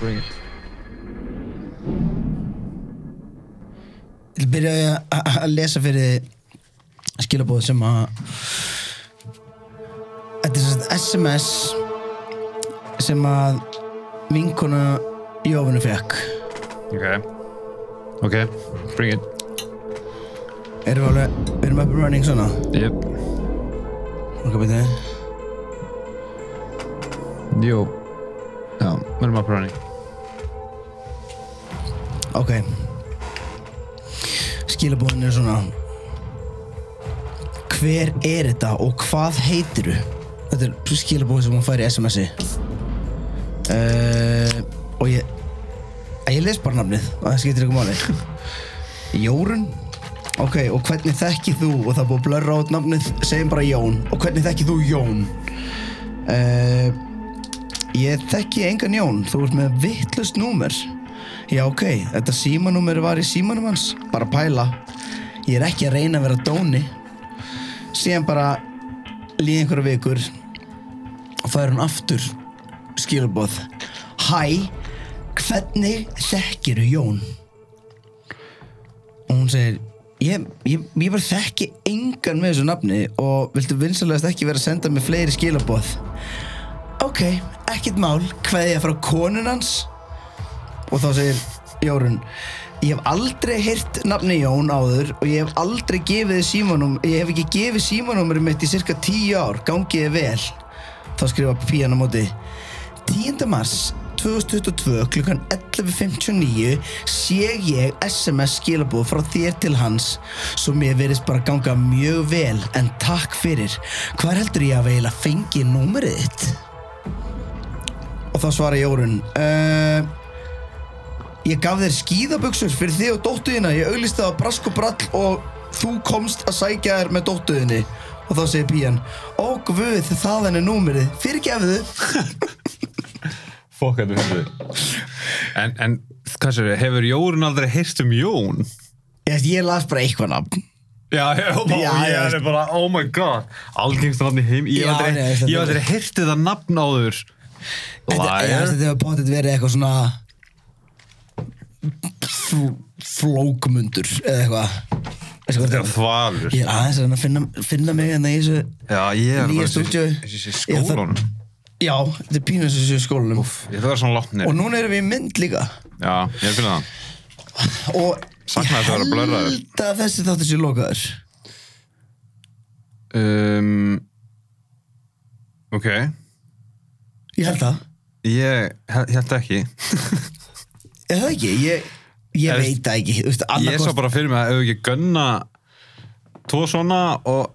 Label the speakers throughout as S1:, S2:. S1: bring it
S2: Ég vil byrja á því að- að að lesa fyrir þið skilabóð sem að Þetta er svona SMS sem að vinkona Jófinu fekk
S1: ok ok, bring it
S2: Erum við alveg, við erum up and running svona
S1: yep.
S2: Ok, byrja
S1: jú já, við erum að pröfning
S2: Ok Skilabóðin er svona Hver er þetta og hvað heitirðu? Þetta er skilabóð sem hún fær í SMS-i uh, Og ég að Ég les bara nafnið og það skiptir ykkur máli Jórun Ok, og hvernig þekkið þú og það er búið að blörra át nafnið, segjum bara Jón og hvernig þekkið þú Jón uh, Ég þekki engan Jón, þú ert með vittlust númer. Já, ok, þetta símanúmer var í símanum hans, bara pæla. Ég er ekki að reyna að vera dóni. Síðan bara líði einhverja vikur og fær hún aftur skilabóð. Hæ, hvernig þekkiru Jón? Og hún segir, ég, ég, ég bara þekki engan með þessu nafni og viltu vinsalegast ekki vera að senda mig fleiri skilabóð? Ok, ekkert mál, hvað ég frá konun hans? Og þá segir Jórun Ég hef aldrei heyrt nafni Jón áður og ég hef aldrei gefið símanum ég hef ekki gefið símanúmerum mitt í cirka tíu ár, gangi ég vel Þá skrifa pían á móti 10. mars 2022 klukkan 11.59 sé ég SMS skilabóð frá þér til hans svo mér verðist bara ganga mjög vel en takk fyrir Hvar heldur ég að veila fengi númerið þitt? Og þá svarar Jórun uh, Ég gaf þér skíðabuxur fyrir þig og dóttuðina Ég auglist það á brask og brall og þú komst að sækja þér með dóttuðinni Og þá segir Pían Ó guð, það henni númerið, fyrirgefðu
S1: fokk að þú hefðu en, en hvað sér, hefur Jórun aldrei heyrt um Jón?
S2: Ég, ég las bara eitthvað nafn
S1: Já, já, já,
S2: Já,
S1: ég
S2: já,
S1: er
S2: veist.
S1: bara, oh my god Algengsta nafn í heim Ég
S2: Já,
S1: hef aldrei,
S2: nei,
S1: ég hef
S2: veist, þetta
S1: aldrei heyrti það nafn áður
S2: Þetta ég veist,
S1: Liar
S2: þetta hefur bóttið verið eitthvað svona fl- Flókmundur eða eitthvað Veistu hvað
S1: Þetta
S2: þetta
S1: er
S2: er?
S1: þvalur
S2: Ég er aðeins að reyna að finna, finna mig en það í þessu
S1: Já, ég er
S2: Nýja
S1: bara
S2: stúdíu.
S1: þessi
S2: Ég þarf-
S1: skólan
S2: Já, þetta er pínu þessu skólanum
S1: Ég þarf að vera svona látt
S2: Og
S1: nýr
S2: núna erum við í mynd líka
S1: Já, ég er að finna það
S2: og
S1: Saknaði þess að vera blurraður.
S2: ég held að þessi þáttur sé lokaður
S1: um, Ok
S2: ég held það,
S1: Ég he- held ekki
S2: er það ekki ég,
S1: Ég
S2: ég
S1: veist-
S2: veit það ekki Þú veist,
S1: Ég sá
S2: annaðhvort-
S1: bara fyrir mig að ef ekki gönna Tvo svona og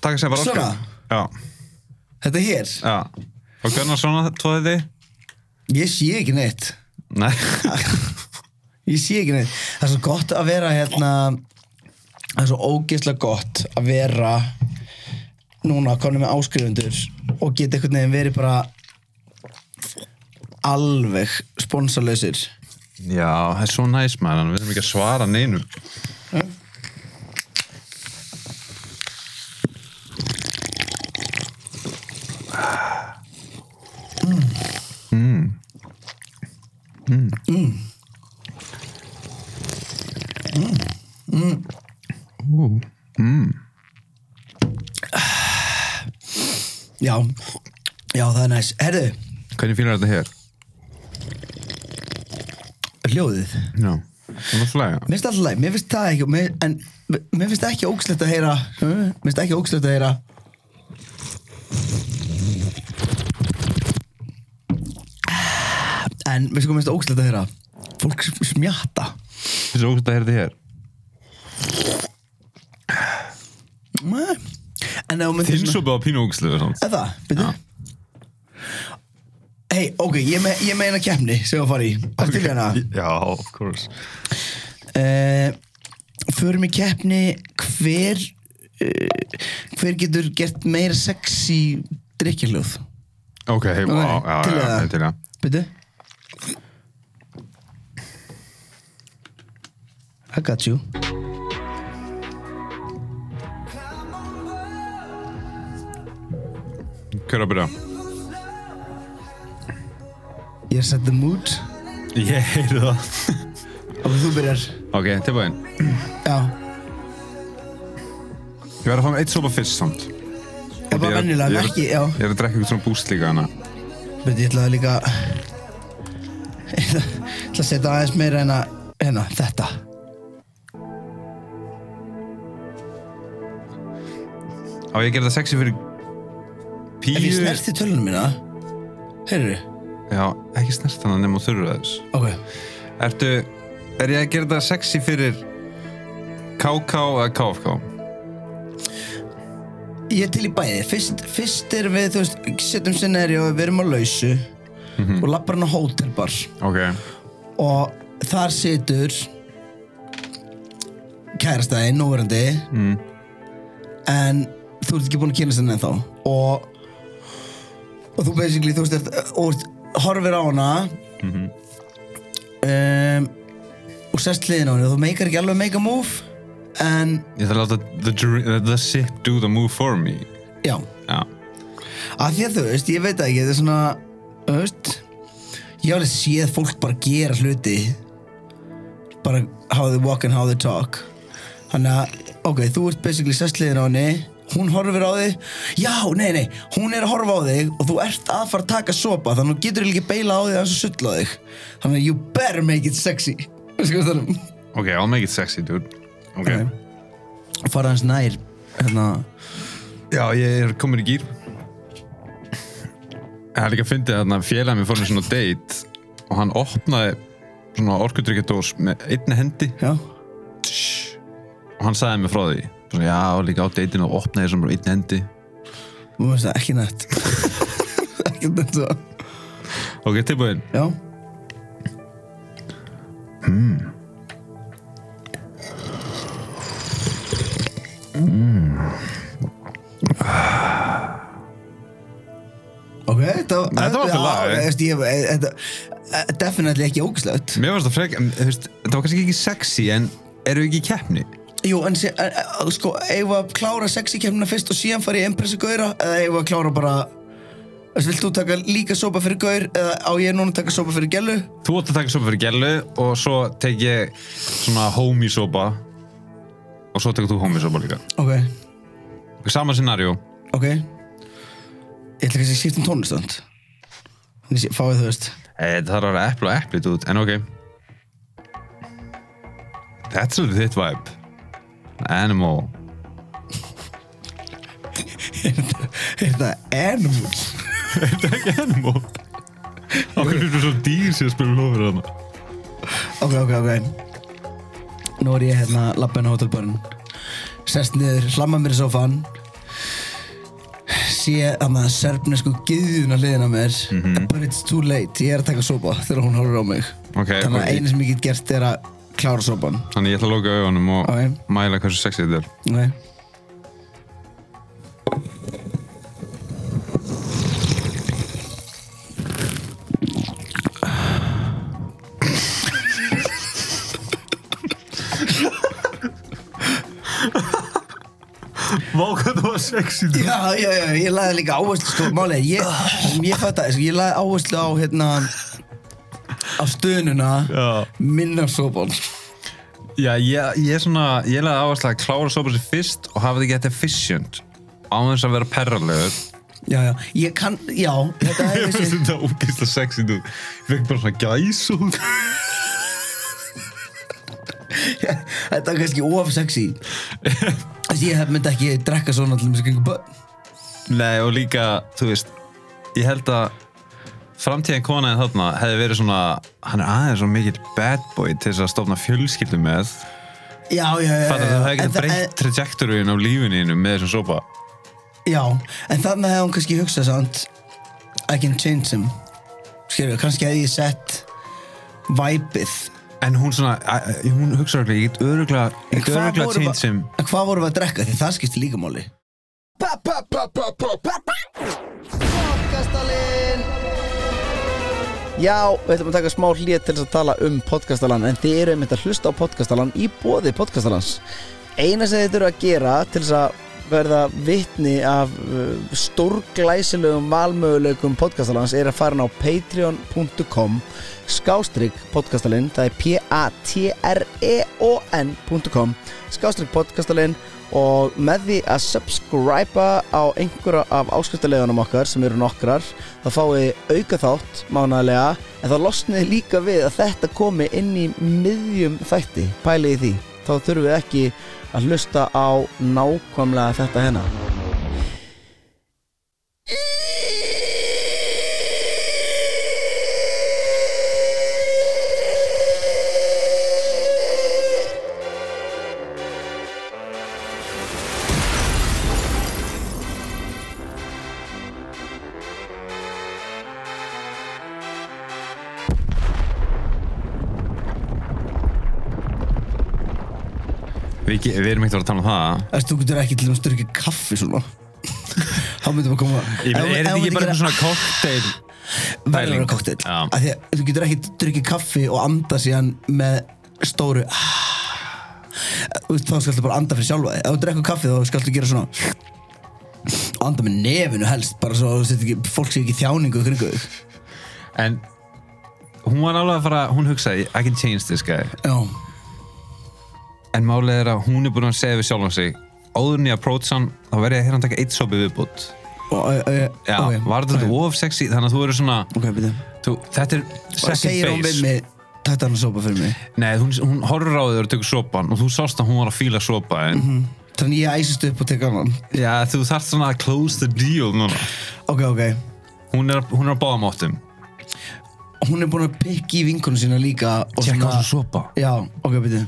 S1: Taka sem bara okkar
S2: Svona?
S1: Já,
S2: þetta hér,
S1: já Og gönna svona tvoðið þið
S2: ég sé ekki neitt
S1: Nei
S2: ég sé ekki neitt það er svo gott að vera hérna það er svo ógeðslega gott að vera núna konum með áskrifundur og geta einhvern veginn verið bara alveg sponsorlausir
S1: Já, það er svo næs maður, en við þurfum ekki að svara neinu
S2: já, já það er næst herðu,
S1: Hvernig fílar þetta hér?
S2: hljóðið
S1: Já, það er flæga
S2: Mér finnst alltaf leið, mér finnst það ekki mér, En mér finnst ekki ógslegt að heyra hm, Mér finnst ekki ógslegt að heyra En veistu hvað mér finnst ógslegt að heyra Fólk sem smjatta
S1: Þessi ógust að þetta hér
S2: Nei. Hm, En ef mér
S1: Þinn súpa á pínu ógustlu
S2: Er það, byrju Hei, ok, ég, me, ég meina keppni sem við að fara í Það til hérna. í hana
S1: Já, of course
S2: uh, förum í keppni hver uh, hver getur gert meira sexy drikkjarljóð
S1: Ok, hey, wow,
S2: Ok,
S1: já,
S2: til í
S1: já,
S2: það.
S1: já, til hérna. í það
S2: byrju I got you
S1: Hver er að byrja?
S2: Ég er set the mood
S1: Ég heyri það.
S2: og þú byrjar
S1: Ok, tilbúin.
S2: Já,
S1: Ég verð að fá mér eitt sopa fyrst samt.
S2: það var
S1: Ég-
S2: venjulega,
S1: ég-
S2: en ekki, já
S1: Ég er að drekka eitthvað svona búst líka hana.
S2: Veit, ég ætlaði líka Ég ætla ætla að setja aðeins meira en að hérna, þetta
S1: Á ég að gera það sexy fyrir píu.
S2: Ef ég snerti tölunum mína Heyrðu,
S1: Já, ekki snert hana nema þú þurru þess.
S2: ok
S1: Ertu, er ég að gera það sexy fyrir KK eða KFK?
S2: Ég er til í bæði, fyrst, fyrst erum við, þú veist, setjum scenari og við erum á lausu og lappar hann á hótelbar
S1: Ok.
S2: og þar situr kærastæði, núverandi
S1: Mm.
S2: en þú ert ekki búin að kynast henni ennþá og og þú basically, þú veist, ert, og ert, horfir á hana um, og sest hliðin á henni og þú meikar ekki alveg make a move en,
S1: Ég þarf að láta the, dr- the shit do the move for me.
S2: já,
S1: Já.
S2: Af því að þú veist, ég veit það ekki, þetta er svona, þú veist, ég hef alveg séð fólk bara gera hluti, bara how they walk and how they talk. Þannig að, ok, þú ert basically sessliðin á henni, hún horfir á þig, já, nei, nei, hún er að horfa á þig og þú ert að fara að taka sopa, þannig að þú getur ekki beila á þig að þessu sulla á þig. Þannig að you better make it sexy, veistu hvað það er?
S1: Ok, I'll make it sexy, dude. Ok.
S2: Ok. Fara hans nær, hérna,
S1: Já, ég er komin í gýr. Það er líka fyndið að félagin mér fór með svona date og hann opnaði svona orkudryggjartós með einni hendi
S2: já,
S1: og hann sagði mér frá því. Svona, já, og líka á dateinu og opnaði þessum með einni hendi.
S2: þú veist það, ekki nætt. ekki nætt svo,
S1: Ok, tilbúin.
S2: já. Hmm. Hmm. Ah. Ok, þetta var
S1: Þetta var
S2: já,
S1: fyrir lag,
S2: ég
S1: eh?
S2: veist, ég- eh, Þetta eh, definitely ekki ógislegt
S1: Mér varst það frek, en, þú veist, það var kannski ekki sexy en eru við ekki í keppni?
S2: Jú, en sé, eh, eh, sko, eigum við að klára sexi kemna fyrst og síðan fara í impressu gauðra eða eigum við að klára bara þú veist, Vilt þú taka líka sopa fyrir gaur eða á ég núna að taka sopa fyrir gellu?
S1: Þú átt að taka sopa fyrir gælu og svo tek ég svona homie sopa og svo tekur þú homie sopa líka.
S2: Ok,
S1: Ok, Sama scenario.
S2: ok Ég ætla kannski að skipta um tónlistönd Þannig sé- fáið þú veist
S1: Eh, Það þarf að vera epli og epli, dude, en ok. Þetta er svolítið þitt vibe. Animal.
S2: Er þetta- er þetta animals?
S1: Þetta er ekki animal. Okkur er svo dýr sem spilur lofur þarna.
S2: Ok, ok, ok Nú er ég hérna lappin á hotelbarinn Sest niður, hlamma mér í sófan Sé að maður serfnesku gyðuna hliðina á mér But it's too late, ég er að taka sopa þegar hún horfir á mig
S1: Mhm. Ok,
S2: Þannig að
S1: ok.
S2: einu sem ég get gert er að klára sopan
S1: Þannig ég ætla að lóka auðanum og
S2: Ok.
S1: mæla hversu sexy þetta er.
S2: Nei
S1: Vá hvað það var sexy þetta.
S2: Já, já, já, ég laði líka áherslu sko, málið, er, ég, sem ég fatt að, ég laði áherslu á, hérna, á stöðnuna,
S1: Já.
S2: minna sopan.
S1: Já, ég, ég er svona, ég laði áherslu að klára sopa sér fyrst og hafa þetta ekki efficient á þess að vera perralegur
S2: Já, já, ég kann, já, þetta er
S1: Ég finnst
S2: þessi,
S1: þetta ógeðslega sexy nú Ég fekk bara svona gæs og
S2: þetta er kannski of sexy. Þessi, ég hef myndi ekki drekka svona allir mjög kringu börn.
S1: Nei og líka, þú veist Ég held að framtíðan konaðin þarna hefði verið svona Hann er aðeins svo mikill bad boy til þess að stofna fjölskyldu með
S2: Já, já, já, já.
S1: Fattar þú, Eh, það hefði
S2: en
S1: getað
S2: en-
S1: breytt trajectoryin á lífininu með þessum sopa
S2: Já, en þannig hefði hún kannski hugsað samt I can change him Skilju, kannski hefði ég sett Væpið
S1: En hún svona, æ, æ, hún hugsa örgulega, ég get örgulega, ég get örgulega change him
S2: en hvað vorum við að drekka? Því það skipti líka máli Podcastalinn Já, við ætlum að taka smá hlýð til þess að tala um podcastalann En þið eru einmitt að hlusta á podcastalann í bóði podcastalans Eina sem þið þurfa að gera til þess að
S3: verða vitni af uh, stórglæsilegum valmöguleikum podcastalans er að fara inn á patreon.com skástrygg podcastalinn það er E p-a-t-r-e-o-n.com skástrygg podcastalinn og með því að subscriba á einhverja af áskriftalegunum okkar sem eru nokkrar þá fáið auka þátt mánaðlega en þá losnið líka við að þetta komi inn í miðjum þætti pælið í því þá þurfum við ekki að hlusta á nákvæmlega þetta hérna
S1: Við, ge- við erum ekkert að tala um það
S2: Þess, þú getur ekki til dæmis drukkið kaffi svona Þá myndum að koma
S1: Ég meina, er
S2: Ef- ef
S1: þetta ekki
S2: þú
S1: bara eitthvað
S2: myndir gera-
S1: svona cocktail
S2: verður að
S1: pæling?
S2: vera koktel
S1: Já.
S2: Af því að þú getur ekki drukkið kaffi og anda síðan með stóru Ah. Þú veist, þá skaltu bara anda fyrir sjálfa þig. ef þú drekkur kaffi þá skaltu gera svona og anda með nefinu helst bara svo þú setur ekki, fólk sé ekki í þjáningu í kringu þig
S1: En hún var alveg að fara, hún hugsaði I can change this guy
S2: já,
S1: En málið er að hún er búin að segja við sjálfum sig Áður en ég approach hann, þá verð ég að hérna að taka eitt sopi viðbútt
S2: og, uh, uh,
S1: Já, var þetta of sexy, þannig að þú eru svona
S2: ok, býta
S1: þú, Þetta er
S2: og segir
S1: second
S2: hún við
S1: base
S2: mig takt hann að sopa fyrir mig
S1: Nei, hún, hún horfir á þig og tekur sopan og þú sást að hún var að fíla sopa en,
S2: Mhm. þannig ég æsist upp og tek annan
S1: Já, þú þarft svona að close the deal núna
S2: ok, ok
S1: Hún er, hún er á báðum áttum
S2: hún er búin að pikki í vinkonu sína líka og
S1: Tjekka á
S2: svona-
S1: þessu sopa
S2: Já, ok, byrju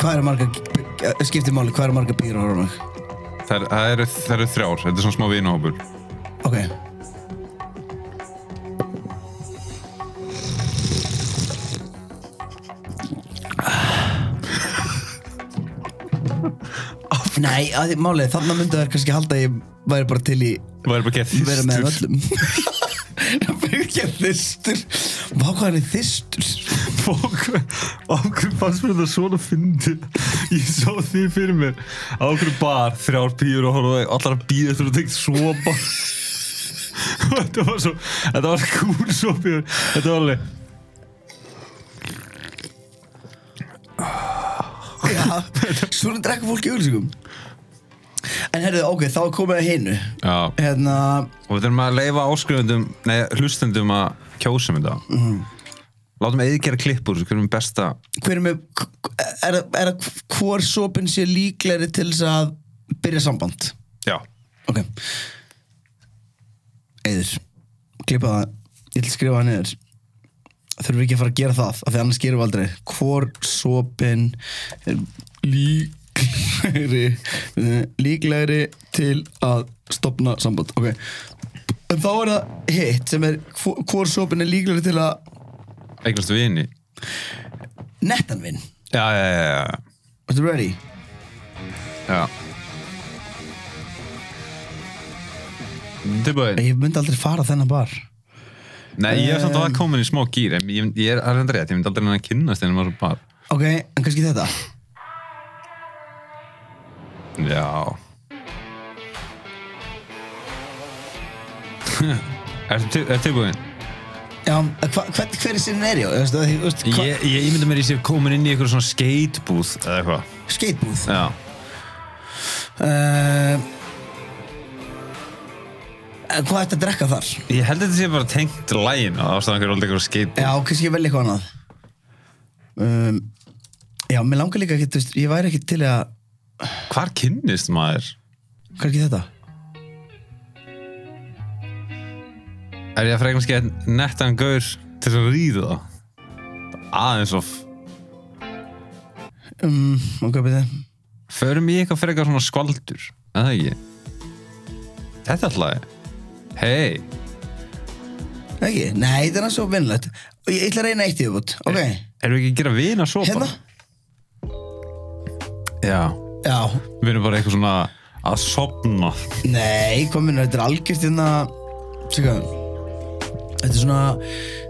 S2: Hvað eru marga eh, skiptir máli, hvað eru marga býr á mig?
S1: Það er- það eru, það eru þrjár, þetta er svona smá vinahópur
S2: Ok Nei, að því málið, þarna myndu þær kannski halda að ég væri bara til í
S1: Þú er bara gett
S2: vera með
S1: þýstur
S2: öllum Byggja þistur Vá hvað hann er þistur
S1: Okkur, okkur fannst mér þetta svona fyndi Ég sá því fyrir mér Á okkur bar, þrjár pýur og horfðu Allar að býða eftir að tekja svopa Þetta var svo Þetta var kúl svopi Þetta var alveg
S2: Já, svona drekka fólk í auglýsingum En herðu, ok, þá er komið að hinu
S1: Já,
S2: Hérna,
S1: og við þurfum að leifa áskrifundum Nei, hlustendum að kjósa mynda mm. Látum eða gera klippur Hvernig erum besta
S2: hver er með Er, er að hvor sopin sé líklegri til þess að byrja samband
S1: Já,
S2: Ok Eður Klippa það, ég ætla að skrifa það niður Þurfum við ekki að fara að gera það Af því annars gerum við aldrei Hvor sopin er líklegri Líklegri til að stopna samband Ok En þá er það hitt sem er hvor- Hvor sopin er líklegri til að
S1: eignastu vini
S2: Nettan vinn
S1: Já, já, já, já,
S2: Ertu ready?
S1: já. Tilbúin
S2: Ég myndi aldrei fara þennan bar
S1: Nei, ég er samt að
S2: Em.
S1: það komin í smá gýr en ég, ég er alveg rétt, ég myndi aldrei hann að kynnast en maður bara,
S2: Ok, en kannski þetta
S1: já Er þetta tilbúin?
S2: Já, hva, hver, hver er sinni er ég? Þú veist, þú veist, hva-
S1: Ég, ég myndi mér í sér komin inn í eitthvað svona skeitbúð eða eitthvað
S2: Skatebúð
S1: Já,
S2: uh, Hvað ertu að drekka þar?
S1: ég held að þetta sé bara tengt lægin á ástæðan hverju aldrei eitthvað skeitbúð
S2: Já, kannski ég vel eitthvað annað um, Já, mér langar líka ekki, þú veist, ég væri ekki til að
S1: Hvar kynnist maður?
S2: Kannski þetta?
S1: Er ég að frekna skeitt nettan gaur til að ríða það? Aðeins of
S2: Um, ok, betur
S1: Förum í eitthvað frekar svona skvaldur Er það ekki? Þetta er alltaf Hei,
S2: Ekki? Nei, þetta er svo vinnlegt Ég ætla að reyna eitt í þjóðbútt, ok
S1: erum við ekki að gera vina sopa?
S2: Hérna?
S1: Já,
S2: Já,
S1: við erum bara eitthvað svona að sopna
S2: nei, kominu, þetta er algjört hérna Sikka þetta er svona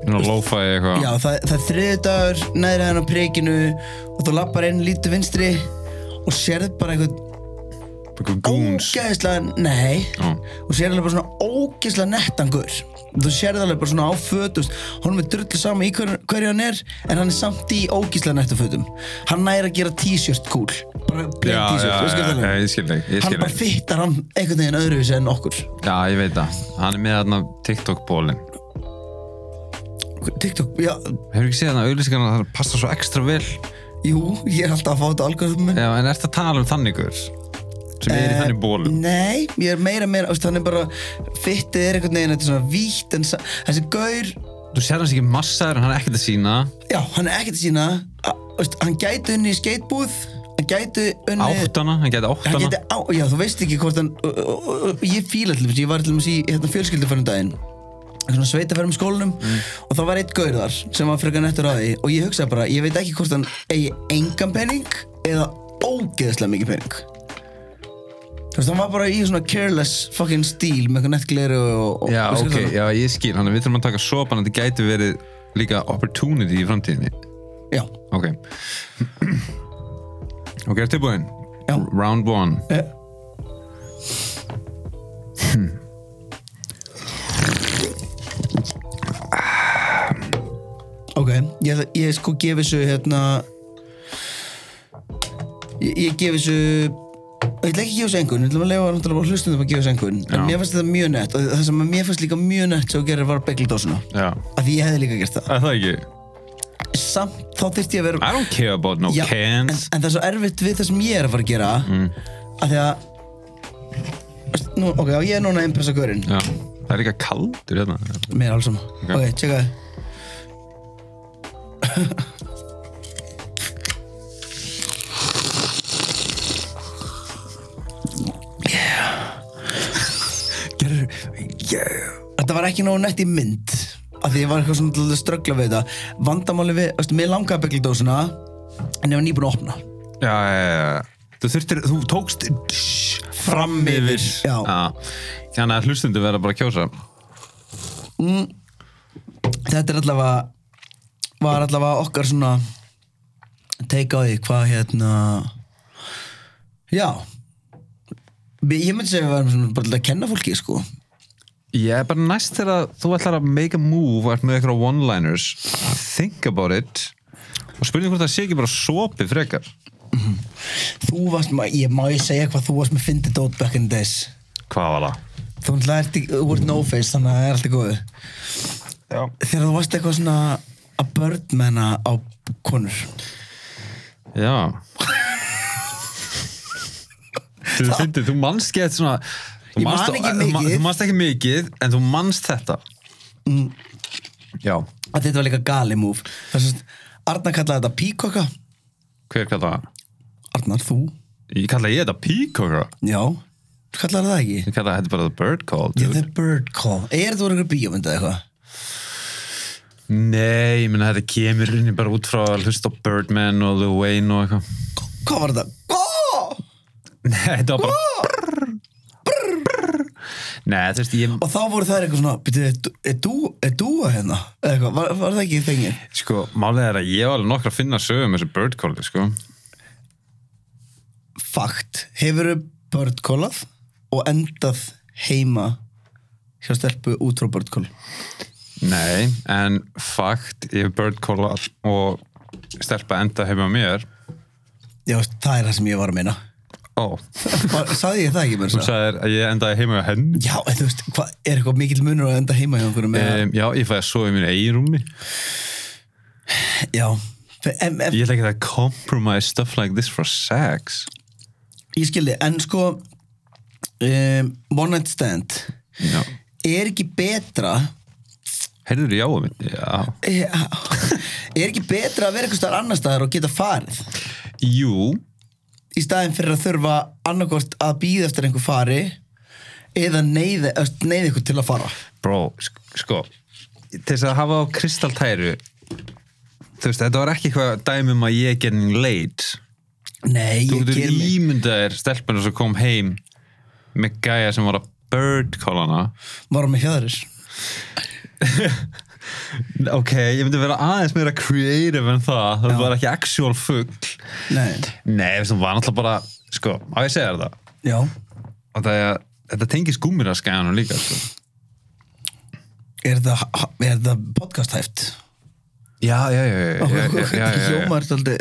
S1: Nú lófaði eitthvað
S2: Já, það, það er þriðdagur, neðri hæðan á prikinu og þú lappar inn, lítur vinstri og sérð bara eitthvað
S1: Eitthvað Goons
S2: ógæðislega, nei
S1: Já.
S2: og sérð alveg bara svona ógæðislega nettangur þú sérð alveg bara svona á fötust honum er drullu sama í hver, hverju hann er en hann er samt í ógæðislega nettafötum hann næri að gera t-shirt cool bara plain
S1: Já,
S2: t-shirt,
S1: já,
S2: veistu hvað
S1: já,
S2: það
S1: já, ég
S2: er
S1: um skil þig, ég
S2: hann
S1: skil
S2: bara
S1: þig
S2: fyttar hann einhvern veginn öðruvísi en okkur
S1: Já, ég veit það, hann er með þarna TikTok-bólin
S2: TikTok, já,
S1: Hefur ekki séð þarna auðlýsingarna, það passar svo ekstra vel
S2: jú, ég er alltaf að fá þetta algoritmum
S1: Já, en ertu að tala um þannig guður? Sem er í
S2: Eh,
S1: þannig bólum
S2: Nei, ég er meira meira, veist, hann er bara Fittið er einhvern veginn, þetta er svona vítt En sa- þessi gaur,
S1: Þú sér hans ekki massaður en hann er ekkert að sína
S2: já, hann er ekkert að sína a- veist, Hann gæti unni í skeitbúð Hann gæti unni
S1: Áttana, hann gæti
S2: Hann
S1: áttana
S2: gæti á, já, þú veist ekki hvort hann ö- ö- ö- ö- Ég fíla til þess, ég var til þess í hérna, fjölskyldufærum daginn svona sveitafærum skólanum
S1: Mm.
S2: og þá var eitt gaur þar sem var frekar nettur á því og ég hugsaði bara, ég veit ekki hvort hann eigi engan pening eða ógeðslega mikið pening þú veist, hann var bara í svona careless fucking stíl með eitthvað nettgleru og, og
S1: Já,
S2: veistu hvað
S1: ok,
S2: það er?
S1: já, ég skil Þannig að við þurfum að taka sopan að þetta gæti verið líka opportunity í framtíðinni
S2: já,
S1: Ok Ok, er tilbúin?
S2: Já.
S1: Round one
S2: Eh, ok ég, ætla- ég sko gefi þessu hérna ég, ég gefi þessu ég ætla ekki að gefa þessu engun, ég ætla að lefa náttúrulega bara hlustundum að gefa þessu engun en
S1: Já.
S2: mér fannst þetta mjög nett og það sem að mér fannst líka mjög nett sem þú gerir var að begla dásuna
S1: Já
S2: af því ég hefði líka gert það
S1: Er það ekki?
S2: samt þá þyrfti ég að vera
S1: I don't care about no
S2: Já, en, en
S1: cans
S2: það er svo erfitt við það sem ég er að fara að gera mm. að því að Veist, nú, ok, já, ég er núna að impressa gaurinn
S1: Já, það er líka kaldur hérna
S2: mér er alls sama ok, okay tjekka það Þetta var ekki nógu nett í mynd af því ég var eitthvað svona til að ströggla við þetta vandamáli við, veistu, mér langaði begldósuna en ég var nýbúin að opna
S1: Já, já, já Þú þurftir, þú tókst fram yfir
S2: Já.
S1: Þannig að hlustundu verða bara að kjósa
S2: þetta er allavega var allavega okkar svona take á því hvað hérna já Við- ég myndi segja að við varum svona bara til að kenna fólki sko
S1: Ég er bara næst þegar að þú ætlar að make a move og ert með eitthvað one-liners think about it og spurning hvort það sé ekki bara sopi frekar
S2: þú varst, ma- ég má ég segja hvað þú varst með fyndið dót back in the days
S1: Hvað var það?
S2: þú náttúrulega ert í- þú ert no face þannig að það er allt í góðu
S1: Já.
S2: þegar þú varst eitthvað svona að börnmenna á konur
S1: Já Þú finnir, þú manst gett svona þú
S2: Ég man
S1: manst-
S2: ekki
S1: þú ma-
S2: mikið. Mm.
S1: Þú manst ekki mikið, en þú manst þetta Já
S2: að þetta var líka gali move þess að Arnar kallaði þetta píkoka
S1: Hver kallar það?
S2: Arnar, þú?
S1: Ég kalla ég þetta peacocker
S2: Já, þú kallaði það ekki
S1: Ég kalla þetta bara the bird call
S2: Yeah,
S1: dude.
S2: the bird call Er þetta voru einhver bíómynd eða eitthvað?
S1: Nei, ég meina þetta kemur inn bara út frá að hlusta á Birdman og The Wayne og eitthvað
S2: Hvað var þetta? Gó!
S1: Nei, þetta var bara brr, brr. Nei, þú veist, ég
S2: Og þá voru þær eitthvað svona Býtu, er dú- er dú er dúa hérna? Eða eitthvað, var, var það ekki þengið?
S1: Sko, málið er að ég var alveg nokkra að finna sögum þessu bird calli, sko
S2: Fakt, hefur þau bird callað og endað heima hjá stelpu út frá bird call
S1: Nei, en fakt, ég hef bird callað og stelpa enda heima á mér
S2: Já, það er það sem ég var að meina
S1: Ó,
S2: Var- Sagði ég það ekki mér
S1: þú sagðir að ég endaði heima á henni
S2: Já, en þú veist, hvað, er eitthvað mikill munur að enda heima hjá einhverjum með
S1: Um, já, ég fæði að sofa í mínu eigin rúmi
S2: Já, en, en,
S1: Ég ætla ekki að compromise stuff like this for sex
S2: ég skildi, en sko um, One night stand
S1: Já,
S2: er ekki betra
S1: heyrður í áum minn Já,
S2: Já. er ekki betra að vera eitthvað starf annar staðar og geta farið
S1: jú
S2: í staðin fyrir að þurfa annarkort að býða eftir einhver fari eða neyði, neyði ykkur til að fara
S1: Bro, sk- sko til þess að hafa á kristaltæru þú veist, þetta var ekki eitthvað dæmum að ég er getting late
S2: nei,
S1: þú
S2: ég
S1: getur
S2: ger mig
S1: ímyndaðir stelpunum sem kom heim með gæja sem var að bird call hana
S2: var með hjáðuris
S1: ok, ég myndi vera aðeins meira creative en það það var ekki actual fugg
S2: Nei,
S1: nei, þú veist, hún var náttúrulega bara sko, á ég að segja þér það
S2: já
S1: og það er þetta tengist gúmiraskæðanum líka sko.
S2: Er það, er það podcast hæft?
S1: já, já, já, já, já, já, já, já, já.
S2: Hjómar aldrei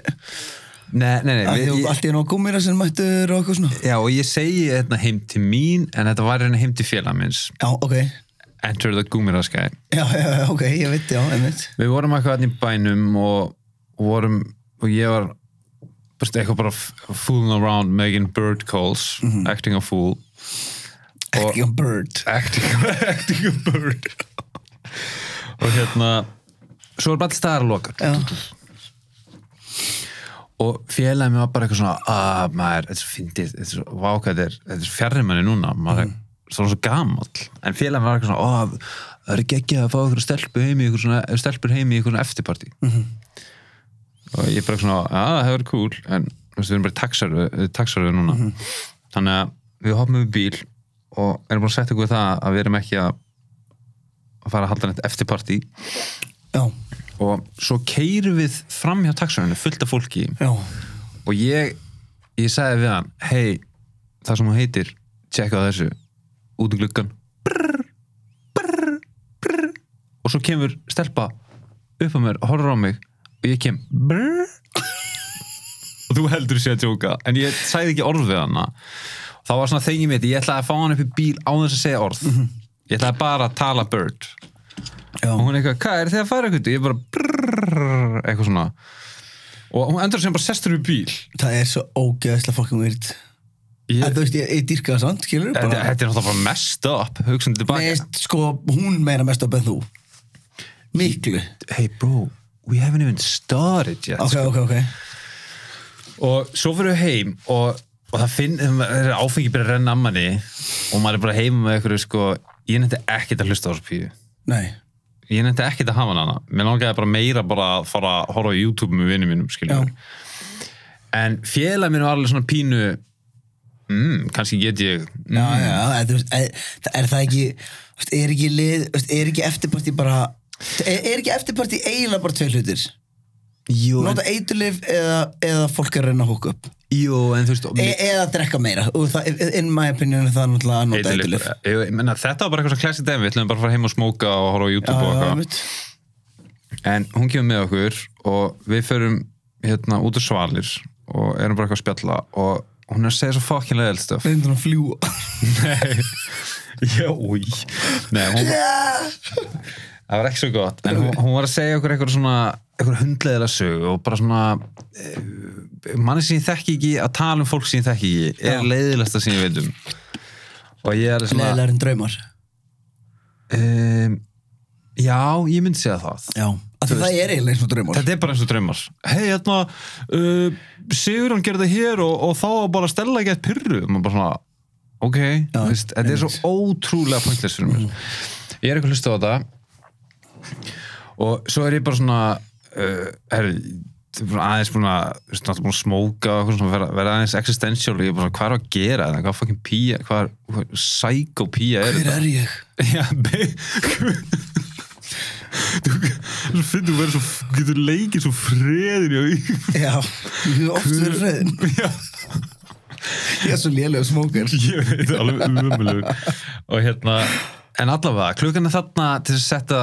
S1: nei, nei, nei
S2: Af því
S1: við,
S2: að
S1: ég,
S2: Allt í enn á gúmira sem mættur og eitthvað svona
S1: já, og ég segi hérna heim til mín en þetta var hérna heim til félag minns
S2: Já, ok
S1: enter the gúmiraskæði
S2: Já, já, já, ok, ég veit, já, einmitt
S1: við vorum eitthvað hann í bænum og, vorum, og ég var bara eitthvað bara f- fooling around making bird calls acting a fool
S2: Ekki on bird
S1: acting, acting a bird og hérna svo er bara alls staðar að loka
S2: Já,
S1: og félagið mér var bara eitthvað svona að maður, þetta er svo fyndið þetta er svo vákað, þetta er fjarrir manni núna maður er svona svo gamall en félagið mér var eitthvað svona, að það er geggjað að fá eitthvað stelpu heim í eitthvað svona eh, stelpur heim í eitthvað svona eftirparti og ég bara svona, að það hefur cool en þú veist, við erum bara í taxaröð taxaröð núna, þannig að við hoppum við bíl og erum bara að setja okkur við það að við erum ekki að að fara að halda neitt eftirparti
S2: já,
S1: og svo keirum við fram hjá taxaröðinu fullt af fólki
S2: já
S1: og ég ég sagði við hann, hei það sem hún heitir, tjekka á þessu út um gluggan brr, brr, brr. og svo kemur stelpa upp á mér, horfir á mig og ég kem brr, og þú heldur sér að tjóka en ég sagði ekki orð við hana þá var svona þengið mitt, ég ætlaði að fá hann upp í bíl á þess að segja orð ég ætlaði bara að tala bird
S2: Já,
S1: og hún er eitthvað, hvað er þið að fara eitthvað ég bara brrrr, eitthvað svona og hún endur sem bara sestur upp í bíl
S2: það er svo ógeðslega fucking weird
S1: Ég-
S2: En þú veist, ég, ég dýrka það samt, skilur
S1: Þetta þetta er náttúrulega bara messed up hugsun tilbaka
S2: Nei, sko, hún meira mest upp en þú Miklu
S1: Hey bro, we haven't even started yet
S2: Ok, ok, ok
S1: Og svo fyrir við heim og, og það finn, það er áfengi byrja að renna að manni og maður er bara heima með einhverju sko ég nefndi ekkert að hlusta á þessu píu
S2: Nei,
S1: ég nefndi ekkert að hafa hana mér langaði bara meira bara að fara að horfa á YouTube með vinnum mínum skiljum
S2: Já.
S1: en félag minn var alveg svona pínu mm, kannski get ég
S2: já,
S1: mm,
S2: já, en þú veist, er, er það ekki þú veist, Er ekki lið, þú veist, er ekki eftirparti bara Er, er ekki eftirparti eiginlega bara tvei hlutir
S1: jú, en,
S2: Nota eiturlif eða, eða fólk er að reyna að húka upp
S1: jú, en þú veist
S2: e, Eða drekka meira Og það, in my opinion, er það er náttúrulega að nota
S1: Eiturlyf.
S2: eiturlif
S1: Jú, ég meina, þetta var bara eitthvað svona classic dæmi við ætlum bara að fara heim og smóka og horfa á
S2: Já,
S1: YouTube og
S2: já,
S1: eitthvað
S2: einmitt.
S1: en hún kemur með okkur og við förum hérna út á svalir og erum bara eitthvað að spjalla og hún er að segja svo fucking leðild stöf
S2: Það er einhvern veginn að fljúa
S1: já, új Nei, hún, það var ekki svo gott en hún, hún var að segja okkur eitthvað svona eitthvað hundleðilega sög og bara svona eh, manni sem ég þekki ekki að tala um fólk sem ég þekki ekki er leiðilegsta sem ég veit um og ég er svona
S2: Leðilegar en draumar
S1: um, já, ég myndi segja það
S2: Já, af því það er eiginlega eins og draumar
S1: Þetta er bara eins og draumar Hei, hérna, uh, Sigurjón gerði það hér og, og þá var bara stella ekki eitt pyrru og bara svona, ok þú veist, Þetta er svo ótrúlega pointless fyrir mér Mm. Ég er eitthvað að hlusta á þetta og svo er ég bara svona uh, herri ég er bara aðeins búin að, þú veist, náttúrulega búin að smóka og eitthvað svona, vera, vera aðeins existential og ég er bara svona, hvað er að gera þetta, hvað fucking pía hvað er, hvað, psycho pía er
S2: Hver
S1: þetta
S2: er ég?
S1: Já, be-
S4: Þú finnur verið svo, getur leikið svo freðin í auðvitað.
S2: Já, ég hef oft verið reyðin
S4: Já,
S2: Ég er svo lélega smókar
S4: ég veit það alveg umömmulegur.
S1: og hérna en allavega, klukkan er þarna til að setja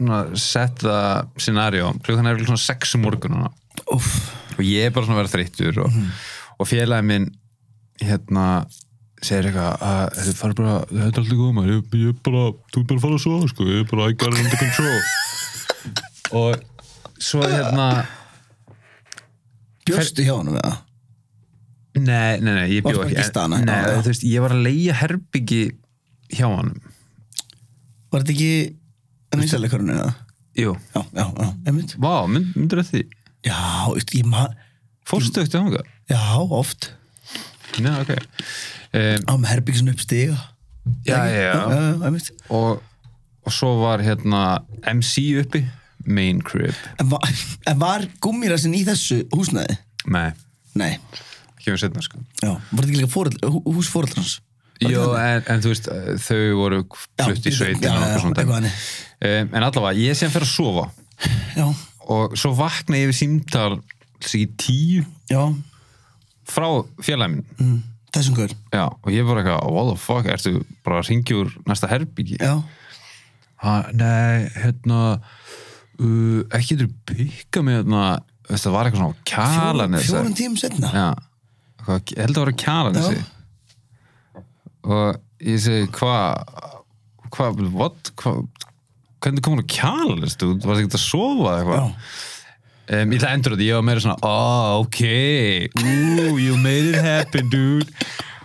S1: svona, setja scenario, klukkan er svona 6 um morgununa
S2: Úff,
S1: og ég er bara svona að vera þreyttur og,
S2: Mhm.
S1: og félagi minn hérna segir eitthvað að þetta fara bara, þetta er alltaf góð maður ég, ég er bara, þú er bara að fara svo sko, ég er bara I got it under control og svo hérna
S2: bjóstu hjá honum eða?
S1: nei, nei, nei, ég bjó
S2: Varst bara
S1: ekki
S2: ekki í staðnum?
S1: en-
S2: Já, já.
S1: nei, þú veist, ég var að leigja herbyggi hjá honum
S2: Var þetta ekki Nýsæleikurinn eða?
S1: jú,
S2: Já, já, já, einmitt
S1: vá, mynd, myndur þetta því
S2: Já, veist, ég maður
S1: Fórstu ekkert þangað?
S2: Já, oft
S1: Nei, ok. Um,
S2: Á með herbyggsinn upp stiga
S1: já, já,
S2: Já,
S1: já.
S2: já, einmitt
S1: Og, og svo var hérna MC uppi, Main Crib.
S2: En var, en var gúmmírasinn í þessu húsnæði?
S1: Nei,
S2: Nei,
S1: ekki við setna, sko.
S2: já Var þetta ekki líka fóröld, hús fóröldrans?
S1: Jó, en, en þú veist, eh, þau voru flutt í
S2: bíddu,
S1: sveitin
S2: já,
S1: og
S2: já,
S1: eitthvað svona
S2: eitthvað
S1: dæmi.
S2: þannig.
S1: um, En allavega, ég sem fer að sofa
S2: Já,
S1: og svo vakna ég við símtal sig í tíu
S2: já,
S1: frá félagi minn
S2: mm, þessum hver
S1: Já, og ég bara eitthvað, what the fuck, ertu bara að ringja úr næsta herbyggi?
S2: Já,
S1: Ha, nei, hérna, uh, ekki getur bygga mig hérna, veist, það var eitthvað svona á
S2: fjórum,
S1: kjalanesi.
S2: fjórum tímum setna
S1: Já, hvað, ég held að vera kjalanesi.
S2: Já.
S1: Og ég segi, hvað, hvað, what, hvað, hvernig komur á kjalanesi, þú varst ekki að sofa eða eitthvað?
S2: Já,
S1: Um, ég ætla að endur þetta, ég var meira svona Oh, ok, ooh, you made it happen, dude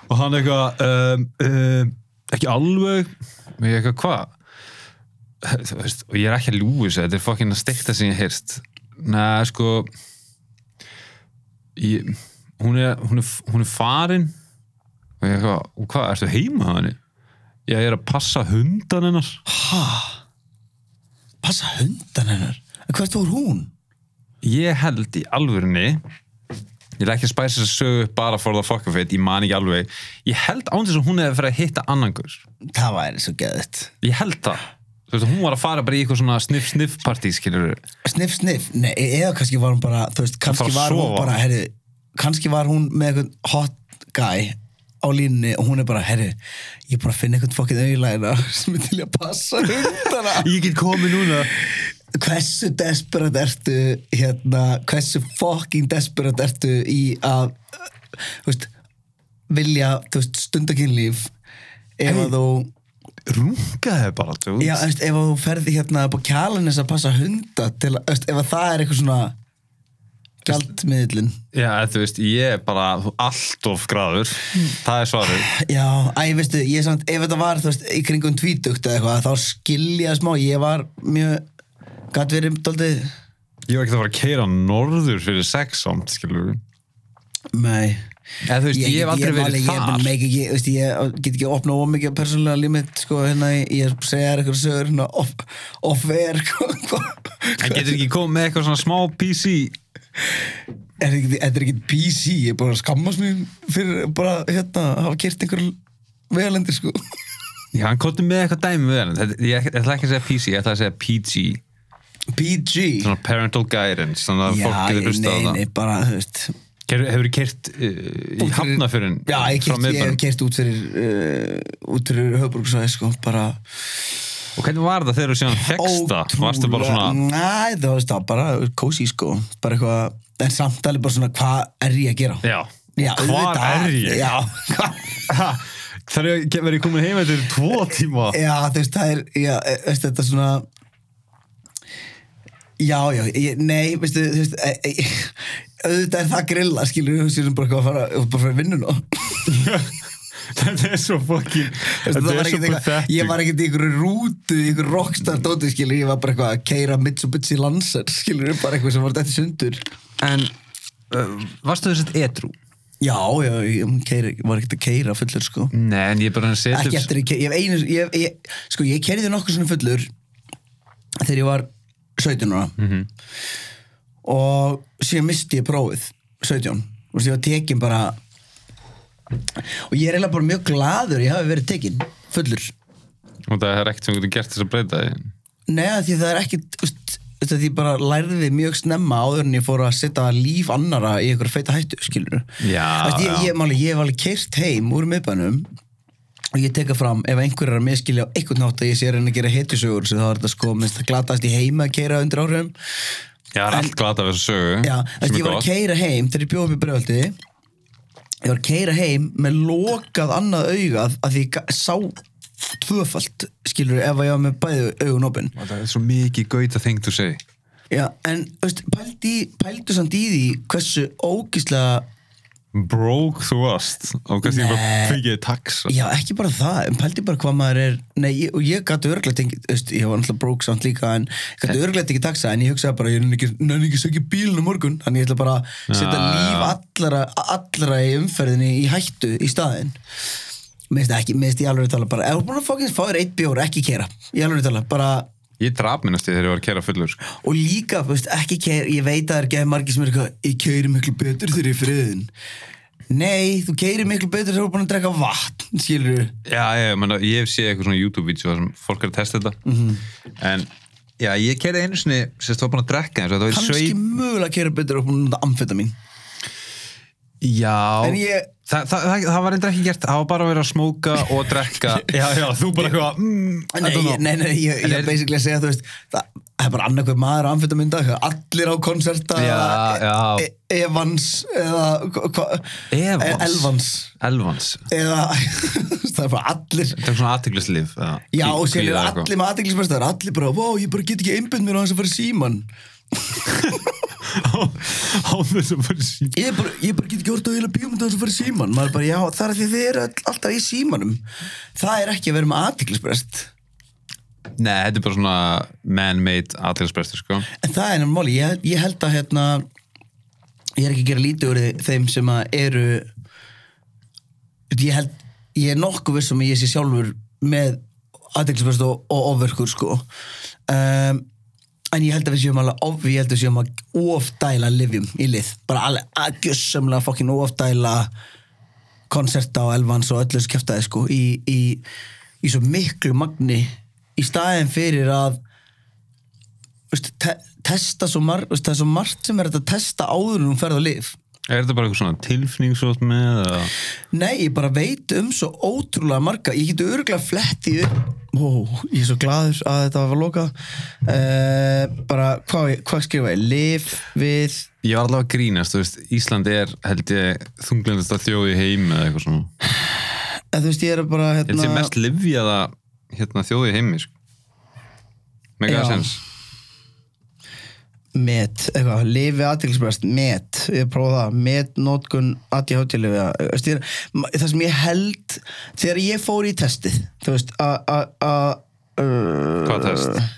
S1: Og hann eitthvað um, um, Ekki alveg Og ég eitthvað, hvað? Þú veist, Og ég er ekki að lúi þessu, þetta er fokkin að stekta sem ég heyrst Nei, sko ég, hún, er, hún, er, hún er farin Og ég eitthvað, og hvað, ertu heima hann? Ég er að passa hundan hennar
S2: passa hundan hennar En Hvert voru hún?
S1: ég held í alvörinni ég er ekki að spæsa þess að sögu upp bara for the fuck of it, ég man ekki alveg ég held án þess að hún hefði fyrir að hitta annangur
S2: Það væri svo geðið
S1: ég held það, þú veist, hún var að fara bara í eitthvað svona sniff sniff partí, skilur
S2: Sniff, sniff, nei, e- eða kannski var hún bara Þú veist, kannski
S1: Bara
S2: var hún
S1: sofa.
S2: bara herri, Kannski var hún með eitthvað hot guy á línunni og hún er bara herri, ég er bara að finna eitthvað fokkið auðlæðina sem er til að passa hundana
S1: ég get komið núna
S2: hversu desperat ertu hérna, hversu fucking desperat ertu í að þú veist, vilja þú veist, stundakinnlíf
S1: Hey.
S2: ef að þú
S1: rungaði bara, þú
S2: já, þú veist, ef að þú ferð hérna upp á kjalanis að passa hunda til að, þú veist, ef að það er eitthvað svona gjaldmiðlin
S1: já, þú veist, ég er bara allt of graður, það er svarið
S2: já, æ, veistu, ég samt ef þetta var, þú veist, í kringum tvítugt eða eitthvað, þá skilja smá, ég var mjög, gæti verið daldið,
S1: ég var ekki að fara að keira norður fyrir sex samt, skilur
S2: nei
S1: eða þú veist, ég, hef aldrei verið
S2: ég,
S1: þar
S2: Ég, ég, ég, veist, ég get ekki opnað of mikið persónulega limit sko, hérna, ég, ég segja þér eitthvað sögur hérna, off- sko, off-air
S1: en
S2: off
S1: getur ekki komið með eitthvað svona smá PC
S2: er ekki- þetta er ekki PC ég er bara að skammast mér fyrir bara hérna, að hafa kert einhver vegalendir sko.
S1: Já, hann kótti með eitthvað dæmi við hann Þetta- Ég ég ætla ekki að segja PC, ég ætla að segja PG
S2: PG
S1: Svona parental guidance Þannig að fólk getur hlusta á
S2: nei,
S1: það
S2: nei, bara, þú veist
S1: Hefur- Hefurðu kert uh, í
S2: út fyrir-
S1: hafnafyrin
S2: Já, ég
S1: frá
S2: kert, ég hef
S1: miðbænum
S2: kert út fyrir uh, út fyrir höfbruksvæði sko, bara
S1: Og hvernig var það þegar þú síðan fegst það? Varstu bara svona
S2: Nei, það varst það bara kósi sko bara eitthvað, en samt alveg bara svona hvað er ég að gera?
S1: Já,
S2: Já,
S1: hvar
S2: auðvitað.
S1: er ég?
S2: Já,
S1: Ha, Þar er ég verið komin heim eftir tvo tíma
S2: já þú veist, það er já, e- veist, þetta svona Já, já, ég, nei, veistu, þú veist, e, e, auðvitað er það grilla, skilur við, sem bara eitthvað að fara, bara að fara í vinnuna.
S1: Þetta er svo fokkin
S2: Veistu,
S1: Þetta
S2: það
S1: er
S2: var
S1: svo
S2: ekkert eitthvað, ég
S1: pathetic
S2: var ekkert í einhverju rútu, í einhverju rockstar dóti, skilur, ég var bara eitthvað að keira Mitsubishi Lancer, skilur við, bara eitthvað sem var þetta sundur.
S1: En uh, varstu þess að edru?
S2: Já, já, ég keira, var ekkert að keira fullur sko
S1: Nei, en ég er bara að setja
S2: Ekki
S1: upp-
S2: eftir, að keyra- ég hef einu, ég, hef- ég, sko ég keiriði nokkuð svona fullur þegar ég var 17 ára og síðan misti ég prófið 17 og ég var tekin bara og ég er eiginlega bara mjög gladur ég hafi verið tekin fullur
S1: Og það er ekkert sem getur gert þess að breyta því
S2: Nei, af því það er ekki úst, þetta því ég bara lærði mjög snemma áður en ég fór að setja líf annara í einhver feita hættu, skilur
S1: Já,
S2: ég,
S1: já.
S2: ég, máli, ég hef alveg keirt heim úr miðbænum og ég teka fram ef einhver er að miskilja á einhvern nátt að ég sé að reyna að gera hetusögur þá er þetta sko, minnst það glatast í heima að keira undir áhrifum
S1: Já, það er allt glata af þessu sögu
S2: Já,
S1: sem
S2: þessi,
S1: er
S2: ég var
S1: gott.
S2: að keira heim þegar ég bjóð upp í breyfaldi ég var að keira heim með lokað annað augað að því ég ga- sá tvöfalt skilur ef að ég var með bæði augun opinn
S1: Og Það er svo mikið gauta þing þú segi
S2: Já, en veist, pældi, pældu samt í því hversu ógíslega
S1: Broke þú varst og kannski ég bara
S2: Nei.
S1: fengið taxa
S2: Já, ekki bara það, en pældi bara hvað maður er Nei, ég, og ég gæti örglætt ekki veist, Ég var náttúrulega brók samt líka en ég gæti örglætt ekki taxa, en ég hugsaði bara ég nenni ekki, nenni ekki að sökja bílinu morgun þannig ég ætla bara að setja
S1: Já,
S2: líf
S1: já.
S2: allra, allra í umferðinni í hættu í staðinn Mér finnst ekki, mér finnst ég alveg að tala bara Ef þú búin að fókins fá þér eitt bjór, ekki kera Ég alveg að tala, bara
S1: Ég draf minnast ég þegar ég var að kæra fullur sko.
S2: og líka, þú veist, ekki keir, ég veit að það er geðið margir sem er eitthvað, ég keiri miklu betur þegar ég er í friðin Nei, þú keirir miklu betur þegar þú er búin að drekka vatn, skilur þú?
S1: Já, já, ég, meina, ég hef séð eitthvað svona YouTube-vídeó þar sem fólk er að testa þetta en já, ég kerði einu sinni sérst var búin að drekka eins og þetta var
S2: Kanski
S1: sveit
S2: mögulega keira betur og búin að nota amfetamin.
S1: Já,
S2: En ég-
S1: Þa, það, það, það var eitthvað ekki gert, það var bara að vera að smóka og drekka Já, já, þú bara eitthvað mm, I
S2: Nei,
S1: don't know.
S2: ég- nei, nei, ég, ég
S1: En
S2: er
S1: er-
S2: basically að segja, þú veist, það það er bara annarkveð maður á amfetamin dag, allir á konserta,
S1: Já, já.
S2: e e Evans, eða, hva- hva-
S1: Evans?
S2: e- Elvans,
S1: Elvans,
S2: eða, þú veist, það er bara allir,
S1: þetta er svona aðtiklislif
S2: já, og sér eru allir með aðdeglismestar, allir bara, vó, ég bara get ekki einbund mér á þess að fara í síman.
S4: á þess að fara sín
S2: Ég bara, ég bara get ekki orðið að heila bíómynda þess að fara í síman, maður bara, já, það er því þið eru all- alltaf í símanum, það er ekki að vera með aðdeglismest.
S1: Nei, þetta er bara svona man-made aðtiklisbrestur, sko
S2: En það er náttúrulega máli, ég, ég held að hérna, ég er ekki að gera lítið úr þeim sem að eru ég held ég er nokkuð vissum að ég sé sjálfur með aðeinsbjörst og, og ofverkur sko um, en ég held að við séum alveg of, ég held að við séum að ofdæla livjum í lið bara alveg aðgjössamlega fokkin ofdæla konserta og elvans og öllu þessu kæftæði sko í, í, í svo miklu magni í staðin fyrir að veist, te testa svo margt veist, það er svo margt sem er hægt að testa áður en hún ferð á lif
S1: Er þetta bara eitthvað svona tilfinningsótt með eða?
S2: Nei, ég bara veit um svo ótrúlega marga Ég geti örgulega fletti upp Ó, ég er svo gladur að þetta var að loka uh, Bara, hvað hva skrifa ég? Liv við
S1: Ég var allavega að grínast, þú veist, Ísland er held ég þunglendasta þjóð í heim eða eitthvað svona
S2: eða, Þú veist, ég er bara
S1: Ég held
S2: hérna
S1: ég mest livjaða hérna, þjóði heimi sko. Mega
S2: Já.
S1: sens
S2: Met, eitthvað, lifi aðtilsbrest Met, ég prófa það Met nótkun aðtíháttilif Það sem ég held Þegar ég fór í testið Þú veist, að að- að- uh,
S1: Hvað test?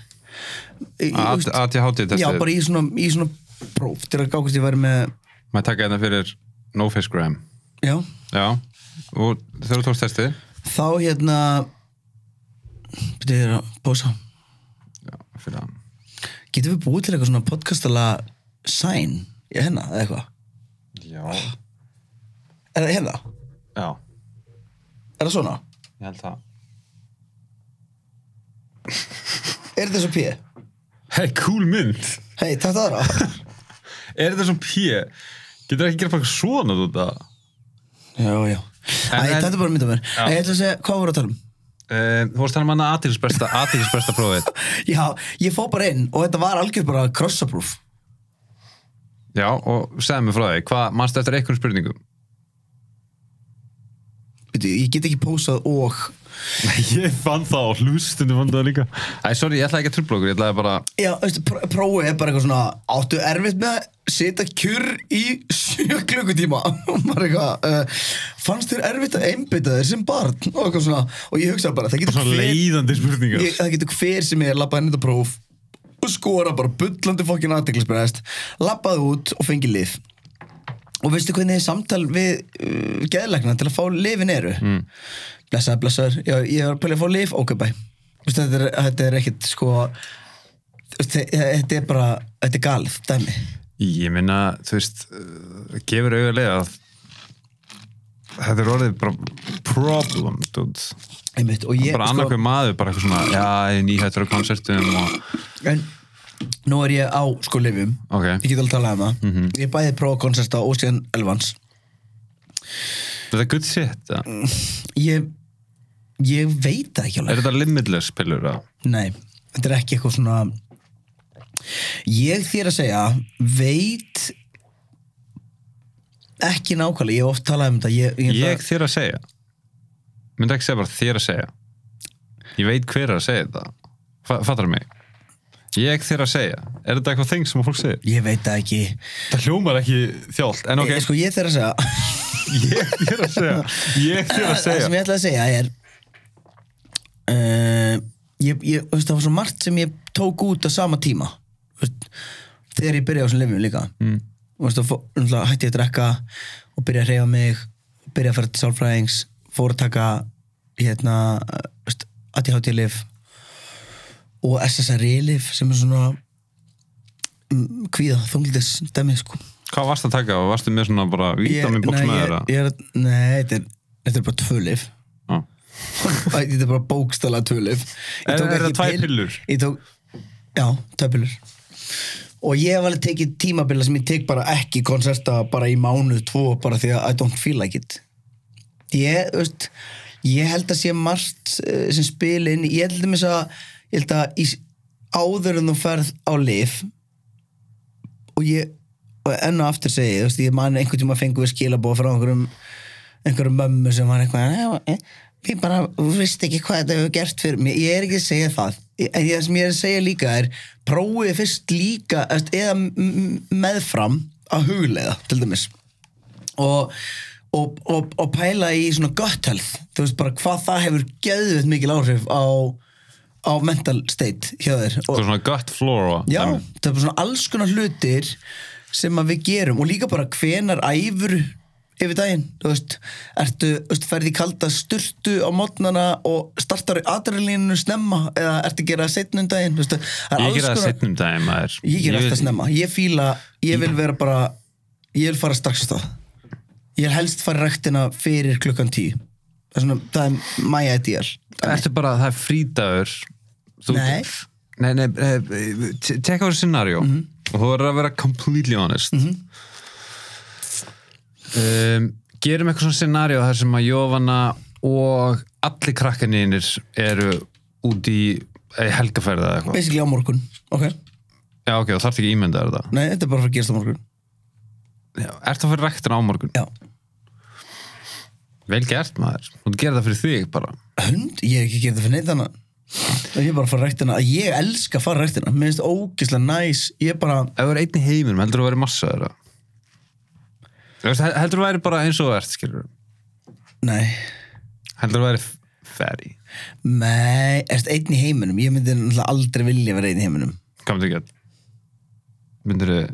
S2: í- í- þú veist,
S1: ATHT testið
S2: Já, bara í svona, í svona próf Til að gákast ég væri með
S1: Maður taka þetta fyrir No Face Graham
S2: Já,
S1: Já, og þegar þú tókst testið
S2: þá hérna Byrja þér að pósa
S1: Já, fyrir það
S2: Getum við búið til eitthvað svona podcastala sign í hérna eða eitthvað?
S1: Já,
S2: Er það hérna?
S1: já,
S2: Er það svona?
S1: ég held það
S2: Er þetta svo píð?
S1: Hei, cool mynd
S2: Hei, takk það aðra
S1: Er þetta svona pí? Getur ekki gera bara svona þú þetta?
S2: Já, já
S1: En-
S2: Æ,
S1: en-
S2: þetta er bara að mynda mér
S1: Já.
S2: Æ, Ég ætla að segja, hvað voru að tala um?
S1: Uh, þú varst þannig manna aðtilspresta aðtilspresta prófið
S2: Já, ég fó bara inn og þetta var algjör bara cross-approof
S1: Já, og segðu mér frá því, hvað mannstu eftir einhverjum spurningum?
S2: Býtu, ég get ekki pósað og
S4: Ég fann það og hlustunni fann það líka
S1: Æ, sorry, ég ætlaði ekki að trubla okkur, ég ætlaði bara
S2: Já, veistu, pr- prófið er bara eitthvað svona Áttu erfitt með að sita kjur í sjö klukkutíma Og maður eitthvað uh, Fannst þér erfitt að einbytta þér sem barn Og eitthvað svona Og ég hugsaði bara, það getur
S4: Svona
S2: hver
S4: leiðandi spurningar
S2: ég, Það getur hver sem er labbað inn í þetta próf Og skora bara bullandi fokkin aðteglisbreðast Labbaði út og fengi lið Og veistu hvernig samtal við uh, geðlegna til að fá lifin eru? Mm. Blessaður, blessaður Já, ég var að pælja að fá lif, ok bæ Veistu, þetta, er, þetta er ekkit sko þú veist, þe- Þetta er bara, þetta er galið, dæmi
S1: Ég minna, þú veist uh, gefur auðvitað að þetta er orðið bara problem, dude
S2: Einmitt, og ég,
S1: bara sko... annarkveð maður, bara eitthvað svona já, ég er nýhættur á koncertum og
S2: En nú er ég á sko lifjum
S1: Ok.
S2: Ég get alveg talað um það Ég er bæði prófakonserta og síðan elvans
S1: þetta er good shit ja.
S2: Mm. Ég, ég veit það ekki alveg
S1: er þetta limitless pillur að
S2: Nei, þetta er ekki eitthvað svona Ég þér að segja veit ekki nákvæmlega, ég hef oft talað um þetta ég, ég,
S1: ég þér að segja myndi ekki segja bara þér að segja ég veit hver er að segja þetta Fa fattar mig ég þér að segja, er þetta eitthvað þing sem fólk segir
S2: ég veit það ekki
S4: Það hljómar ekki þjált En ok,
S2: ég, Sko ég þér að segja
S4: ég þér að segja Ég þér að
S2: Það
S4: segja
S2: sem ég ætla að segja er uh, ég, ég, þú veist, Það var svo margt sem ég tók út á sama tíma Þú veist, Þegar ég byrjaði á þessum lifum líka mm. veist, og fó, náttúrulega hætti ég að drekka og byrjaði að reyfa mig byrjaði að fara til sálfræðings fór að taka hérna, ADHD lif og SSRI lif sem er svona mm, kvíða þunglindis dæmi sko
S1: Hvað varst að taka? Varstu með svona bara vítaminboks
S2: nei,
S1: með
S2: ég-
S1: þeirra?
S2: ég er að- Nei, þetta er, þetta er bara tvölif
S1: Já.
S2: Þetta er bara bókstala tvölif
S1: Er- er það tvær pillur?
S2: Ég tók, já, tvær pillur Og ég hef alveg tekið tímabilla sem ég tek bara ekki konserta bara í mánuð tvo bara því að I don't feel like it Ég, þú veist, ég held að sé margt eh, sem spila inn í- Ég held að mér að, ég held að í, áður en þú ferð á lif og ég og enn og aftur segi, ég, þú veist, ég man einhvern tíma fengum við skilabóð frá einhverjum einhverjum mömmu sem var eitthvað "Já, eh, ég bara, þú veist ekki hvað þetta hefur gert fyrir mig, ég er ekki að segja það Ég- en ég, sem ég er að segja líka er prófið fyrst líka þú veist, eða m- m- meðfram að huglega, til dæmis og, og, og, og pæla í svona gut health þú veist bara hvað það hefur geðvitt mikil áhrif á, á mental state hjá þér og,
S1: Þú svona gut flora
S2: Já,
S1: dæmi.
S2: það er bara svona alls konar hlutir sem að við gerum og líka bara hvenar æfur yfir daginn, þú veist, ertu, þú veist, ferði kalda sturtu á mótnana og startar adrenalínu snemma eða ertu að gera setnum daginn, þú veist, það er
S1: Ég gera
S2: alls
S1: það
S2: konar,
S1: setnum daginn maður
S2: ég gera alltaf snemma, ég fíla, ég vil vera bara, ég vil fara strax á það, ég vil helst fara í rektina fyrir klukkan tíu, það er svona, það er my ideal,
S1: Ertu bara, það er frídagur þú,
S2: Nei.
S1: Nei, eh, nei, nei Tekka á þessu scenario
S2: Mhm.
S1: og þú verður að vera completely honest um, Gerum eitthvað svona scenario þar sem að Jóvanna og allir krakkaninir eru út í eh, helgafærða eða eitthvað
S2: basically á morgun, ok,
S1: Já, ok, þú þarft ekki að ímynda þér þetta
S2: nei, þetta er bara fyrir að gerast á morgun,
S1: Já, Ertu að fyrir rektina á morgun?
S2: já,
S1: Vel gert maður, þú gerir það fyrir þig bara
S2: hund, ég hef ekki gert það fyrir neitt annað og ég er bara að fara ræktina að ég elska að fara ræktina, mér finnst ógislega næs ég bara,
S1: Ef þú er einn í heiminum, heldur þú að vera massa þeirra? Þú veist, hel- Heldur þú að vera bara eins og þú ert, skilur
S2: nei
S1: Heldur þú að vera ferri?
S2: mei, erst einn í heiminum ég myndi náttúrulega aldrei vilja vera einn í heiminum
S1: Hvað myndir þú gett? Myndir þú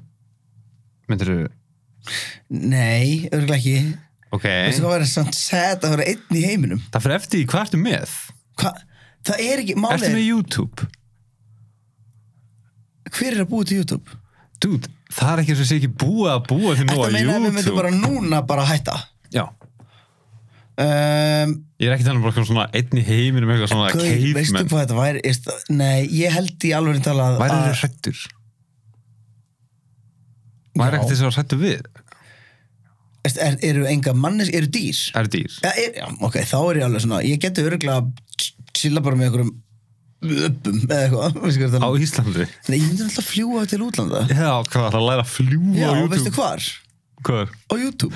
S1: Myndir þú
S2: nei, örgulega ekki
S1: Ok,
S2: veistu hvað verður samt set að vera einn í heiminum
S1: það fyrir eftir því hvað ertu með?
S2: Hva? það er ekki, málið
S1: Ertu
S2: er
S1: með YouTube?
S2: hver er að búa til YouTube?
S1: Dude, það er ekki eins og sé ekki búið að búa því nú
S2: þetta
S1: að
S2: meina að við
S1: YouTube
S2: myndum bara núna bara hætta
S1: Já,
S2: um,
S1: ég er ekki þannig bara eitthvað svona einn í heiminum eitthvað svona
S2: Gauð, veistu
S1: caveman
S2: hvað þetta væri? Ég veist- Nei, ég held í alveg tala að
S1: Væri þér hrættur? Væri
S2: Já.
S1: ekkert þess að hrættu við?
S2: Veist, er, eru enga mannes, eru dýr?
S1: Er dýr?
S2: Já, er, já, ok, þá er ég alveg svona ég geti örgulega chilla bara með einhverjum öppum eða eitthvað veistu hvað ég er að
S1: Á
S2: tala um?
S1: Íslandi?
S2: Nei, ég myndi alltaf fljúa til útlanda
S1: Já, hvað það að læra að fljúa
S2: Já,
S1: á
S2: og
S1: YouTube?
S2: veistu hvar?
S1: Hvað?
S2: Á YouTube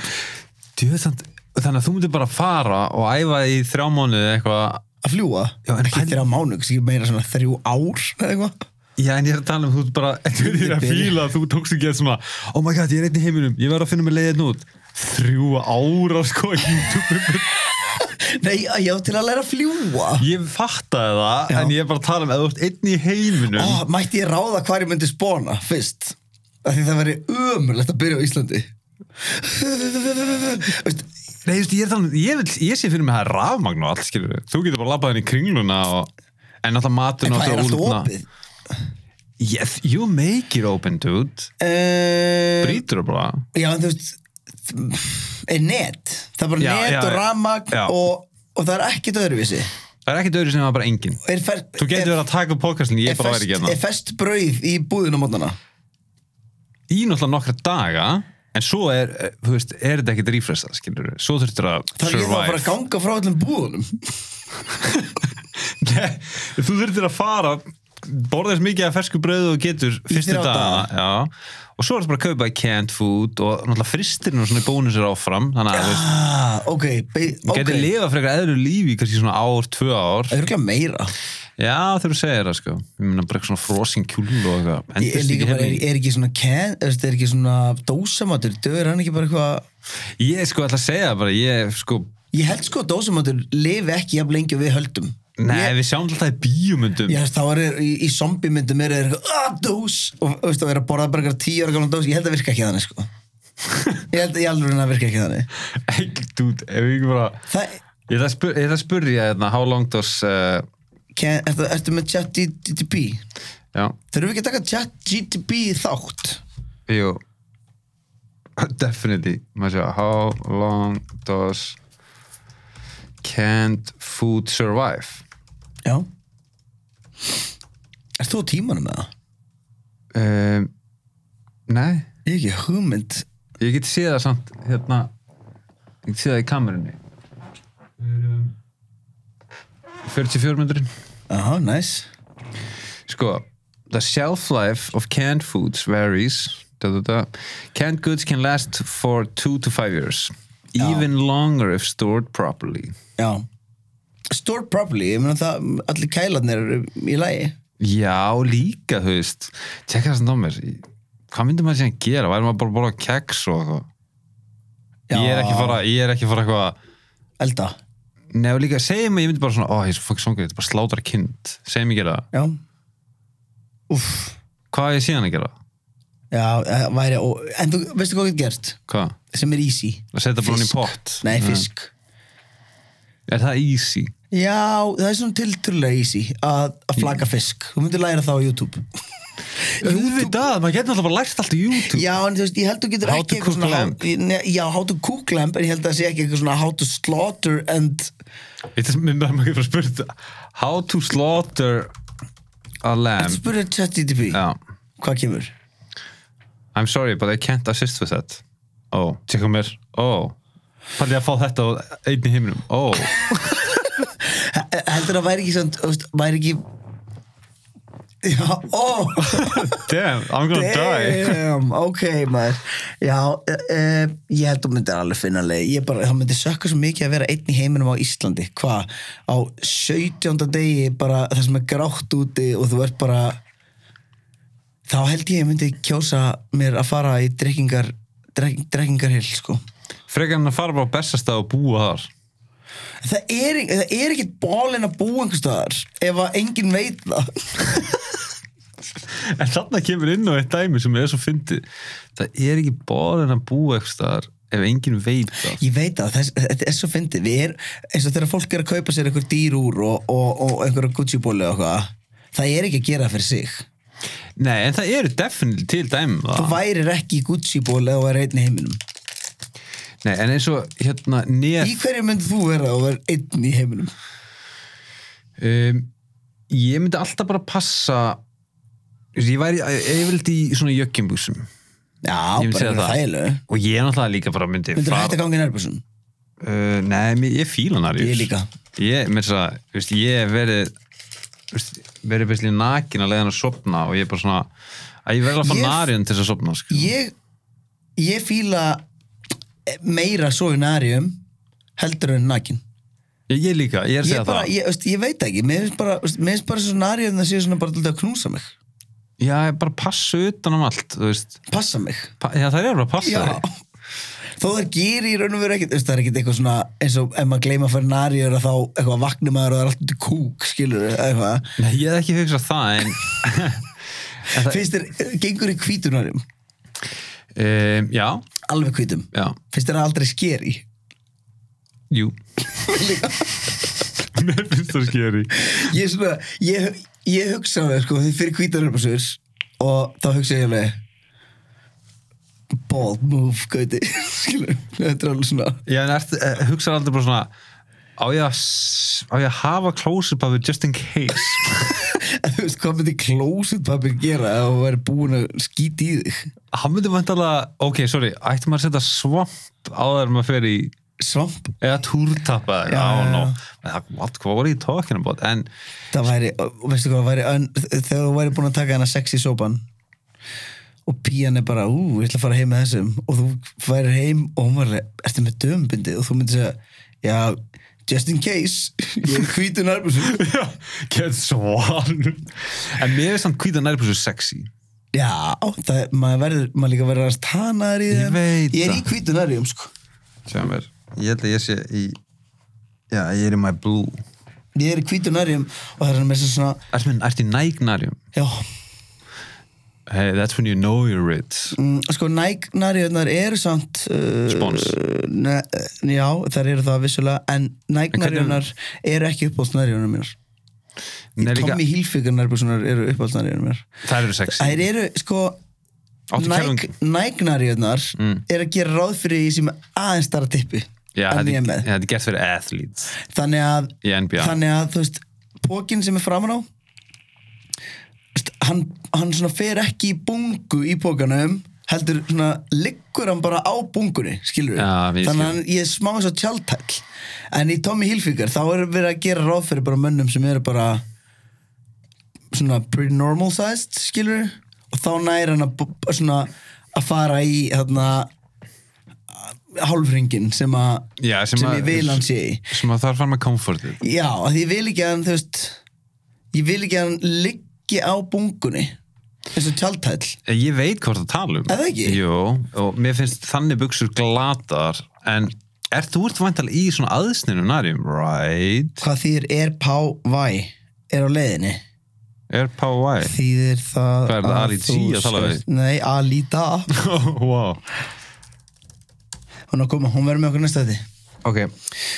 S1: Djöðsand, þannig að þú myndir bara fara og æfa í þrjá mánuði eitthvað
S2: að fljúa
S1: Já, en
S2: ekki
S1: pæl-
S2: þrjá mánu, kannski meira svona þrjú ár eða eitthvað
S1: Já, en ég er að tala um þú ert bara Þú er að fíla að þú tókst ekki að svona Oh my god, ég er einn í heiminum, ég verð að finna mig leiðin út Þrjú ára sko í YouTube
S2: Nei, já, já, til að læra að fljúa
S1: Ég fattaði það,
S2: Já.
S1: en ég er bara að tala um að þú ert einn í heiminum
S2: Ó, Ah, Mætti ég ráða hvar ég myndi spóna fyrst af því það væri ömurlegt að byrja á Íslandi Veist,
S1: Nei, just, ég, er að tala um, ég, vil, ég sé fyrir mig að það er rafmagn og allt skilur Þú getur bara labbað inn í kringluna og, En alltaf
S2: en
S1: matun
S2: hvað er alltaf opið?
S1: Yes, you make it open, dude
S2: Uh,
S1: Brítur það bara
S2: Já, en þú veist er net, það er bara
S1: Já,
S2: net
S1: já,
S2: og
S1: já.
S2: ramag
S1: Já.
S2: og, og það er ekkert öðruvísi
S1: Það er ekkert öðru sem það er bara engin
S2: er fer,
S1: Þú getur verið að taka upp podcastin, ég bara væri ekki hérna
S2: er fest brauð í búðinu mótnana
S1: Í náttúrulega nokkra daga En svo er, eh, þú veist, er þetta ekkert rífrestað, skilur Svo þurftur að
S2: það er ég þá að fara að
S1: survive
S2: ganga frá öllum búðunum
S1: Nei, Þú þurftur að fara borða þess mikið af fersku brauðu og getur fyrstu
S2: þrjá
S1: daga já. og svo er þetta bara að kaupa canned food og náttúrulega fristirinn og svona bónusir áfram þannig að þú veist,
S2: ah, ok, be-
S1: þú
S2: ok
S1: getur lifað frekar eðlu lífi í kannski svona ár, tvö ár
S2: örgulega meira
S1: já þegar þú segir það sko ég meina bara eitthvað svona frosin kjúl og eitthvað
S2: Ég er,
S1: Endist
S2: líka
S1: ekki hérna
S2: bara, er,
S1: heilmikið.
S2: er ekki svona can, er, er ekki svona dósamatur, döður hann ekki bara eitthvað
S1: ég sko ætla að segja það bara ég sko
S2: ég held sko að dósamatur lifi ekki jafn lengi og við höldum
S1: Nei,
S2: Ég-
S1: við sjáum alltaf í bíómyndum
S2: Já, þú veist, þá er í, í zombiemyndum er er eitthvað, að dós og þú veist, þá er að borða bara eitthvað tíu ára gamla dós ég held að virka ekki þannig, sko ég held í alveg að virka ekki þannig
S1: Ekki, dude, ef ég ekki bara
S2: það,
S1: Ég ætla að spur- ég ætla að spurja hérna How long does uh,
S2: can, ertu, ertu með chat GTP?
S1: Já,
S2: Þurfum við ekki að taka chat GTP þátt?
S1: jú definitely maður sé how long does canned food survive
S2: Já Ert þú á tímanum með það?
S1: um, nei
S2: Ég hef ekki hugmynd
S1: ég get séð það samt hérna ég get séð það í kamerunni 44 myndurinn
S2: Aha, nice
S1: sko the shelf life of canned foods varies da, da, da. canned goods can last for 2 to 5 years even longer if stored properly
S2: Já Stored properly, ég meina það, allir kælarnir eru í lagi
S1: já líka þú veist tjekka það samt á mér hvað myndi maður síðan gera, væri maður bara að borða keks og eitthvað ég er ekki að fara ég er ekki að fara eitthvað
S2: Elda,
S1: Nefnir líka, segjum að ég myndi bara svona, ó, ég er svo fokk songur, þetta er bara slátra kind, segjum ég gera það.
S2: já Úff,
S1: Hvað á ég síðan að gera?
S2: já, það væri ó... En þú, veistu hvað getur gert?
S1: Hvað?
S2: Sem er easy
S1: Að setja bara hann í
S2: Fisk.
S1: pott?
S2: Nei, fisk
S1: Er það easy?
S2: Já, það er svona tiltrúlega easy að, að flagga fisk. Þú myndir læra það á YouTube.
S1: Auðvitað, maður getur alltaf bara lært allt í YouTube.
S2: Já, en þú veist, ég held þú getur
S1: How to
S2: ekki
S1: cook
S2: svona...
S1: lamb.
S2: Nei, Já, how to cook lamb, en ég held að það sé ekki eitthvað svona how to slaughter and...
S1: Þetta er mér maður ekki bara spurt, how to slaughter a lamb?
S2: Spurðu ChatGTP,
S1: Já,
S2: hvað kemur?
S1: I'm sorry, but I can't assist with that. Ó, tjekka mér, ó, fallið að fá þetta á einni himnum, ó.
S2: He- Eh, Heldur það væri ekki svona, þú veist, væri ekki... Já, ó!
S1: Damn, I'm gonna die.
S2: Damn, ok, maður. Já, uh, ég held þú myndir alveg finna leið. Ég bara, það myndir sökka svo mikið að vera einn í heiminum á Íslandi. Hvað? Á 17. degi bara það sem er grátt úti og þú ert bara... Þá held ég ég myndi kjósa mér að fara í drekkingar, drek, drekkingarhill, sko.
S1: Frekar hann að fara bara á bestastað og búa þar.
S2: Það er, það er ekkit bólinn að búa einhvers staðar ef að enginn veit það.
S1: En þarna kemur inn á eitt dæmi sem er svo fyndið. Það er ekki borin að búa eitthvað staðar ef enginn veit það.
S2: Ég veit að þess, þetta er svo fyndið Við er, eins og þegar fólk er að kaupa sér einhver dýr úr og, og, og einhverja Gucci-bólu og eitthvað Það er ekki að gera það fyrir sig
S1: Nei, en það eru definitely til dæmi um
S2: Þú
S1: það.
S2: værir ekki í Gucci-bólu eða væri einn í heiminum
S1: Nei, en eins og hérna
S2: Í
S1: nef,
S2: hverju myndið þú vera og vera einn í heiminum?
S1: um, ég myndi alltaf bara passa ég væri yfirlt í svona jökkimbúsum
S2: Já,
S1: Ég myndi
S2: bara
S1: segja
S2: einhverju
S1: það.
S2: þægilegu
S1: og ég er náttúrulega líka bara myndi
S2: Myndir þú
S1: fara-
S2: hægt að ganga í nærbúsum?
S1: Uh, nei, mér- ég fíla hann
S2: Ég líka.
S1: Ég, mér þess að, þú veist, ég hef verið þú veist, verið bestið nakin að leiða hann að sopna og ég er bara svona að ég verði að fá
S2: Ég-
S1: narjun til þess að sopna sko.
S2: Ég, ég fíla meira svo í nærium heldur en nakin
S1: ég, ég líka, ég er að
S2: Ég,
S1: segja
S2: bara,
S1: það
S2: ég, veist, ég veit ekki, mér finnst bara, veist, mér finnst bara svo nærium það séu svona bara til að knúsa mig
S1: Já, ég bara passa utan um allt þú veist,
S2: Passa mig
S1: pa, já, það er bara að passa
S2: Já.
S1: þig
S2: Þó það gerir í raun og veru ekkert, þú veist, það er ekkert eitthvað svona eins og ef maður gleyma fyrir narjur að þá eitthvað vaknir maður og það er alltaf til kúk, skilur eitthvað.
S1: Nei, ég hef ekki hugsað það en það-
S2: Finnst þér, gengur í hvítunarjum,
S1: um, Já,
S2: alveg hvítum,
S1: já,
S2: finnst þér það aldrei skeri?
S1: jú Mér finnst það skeri
S2: Ég, er svona, ég, ég hugsa á það, sko, því fyrir hvítunarjum og þá hugsa ég alveg bold move, gauti, skilur, þetta er alveg svona,
S1: Já, en ert, eh, hugsaðu aldrei bara svona á ég að, s- á ég að hafa klósupapir just in case
S2: þú veist, hvað myndi closet pappir gera ef þú væri búin að skíti í þig?
S1: hann myndi vantalega, ok, sorry ætti maður að setja svamp á þegar maður fer í
S2: Svamp
S1: eða túrtappa eða,
S2: Já,
S1: já,
S2: já,
S1: já,
S2: já.
S1: já. What, hvað voru ég tókinn about en
S2: Það væri, og veistu hvað, væri, ön- þegar þú væri búin að taka hennar sex í sópan og pían er bara, ú, ég ætla að fara heim með þessum og þú væri heim og hún var alveg, ertu með dömbindi og þú myndir segja, já, just in case, ég er hvítun arbúsum.
S1: get svan en mér er samt hvítan nærbrúsu sexy
S2: Já, það, er- maður verður, maður líka verður að tanaðar í
S1: Ég
S2: þeim.
S1: veit
S2: Ég
S1: það.
S2: er í hvítun arbúsum, sko.
S1: sem er, ég held að ég sé í já, ég er í my blue
S2: Ég er í hvítun arbúsum og það er með þess svona,
S1: ertu með- ertu í nægnarjum
S2: já,
S1: hey, that's when you know you're rich
S2: Mm, sko nægnarjöðnar eru samt uh,
S1: Spons.
S2: ne, eh, já, þær eru það vissulega en nægnarjöðnar eru ekki uppáhaldsnarjöðnar mínar
S1: Nei, líka,
S2: Tommy Hilfiger nærbúsunar eru uppáhaldsnarjöðnar mínar
S1: það eru sexy
S2: þær eru sko
S1: Áttu
S2: Nike-
S1: kerfing-
S2: Nike-nariðnar
S1: Mm.
S2: er að gera ráð fyrir því sem er aðeins starra tippi
S1: Já,
S2: en
S1: þetta
S2: ég er
S1: er-
S2: með
S1: þetta er gert fyrir athletes
S2: þannig að,
S1: í NBA
S2: þannig að þú veist, pókin sem er framan á veist, hann, hann svona fer ekki í bungu í pókanum heldur svona, liggur hann bara á bungunni skilur við,
S1: Já, ég skil.
S2: þannig að hann, ég er smá eins og tjaldtæll en í Tommy Hilfiger þá er verið að gera ráð fyrir bara mönnum sem eru bara svona pretty normal sized skilur við, og þá næri hann að b- b- svona að fara í þarna hálfringin sem að
S1: Já, sem
S2: sem
S1: að-
S2: ég vil hann sé í
S1: sem að þarf fara með comfortið
S2: Já, af því ég vil ekki að hann, þú veist Ég vil ekki að hann liggi á bungunni eins og tjaldtæll
S1: Eh, Ég veit hvort að tala um
S2: Er það ekki?
S1: Jú, og mér finnst þannig buksur glatar en er þú ert vantal í svona aðsninu nariðum, right?
S2: Hvað þýðir er pá væ er á leiðinni
S1: Er P.Y.
S2: Þýðir það
S1: Hvað er það,
S2: að
S1: Ali
S2: þú
S1: G að tala
S2: sért-
S1: við?
S2: Nei, Ali Da
S1: wow.
S2: Hún er að koma, hún verður með okkur næsta þetta
S1: Ok,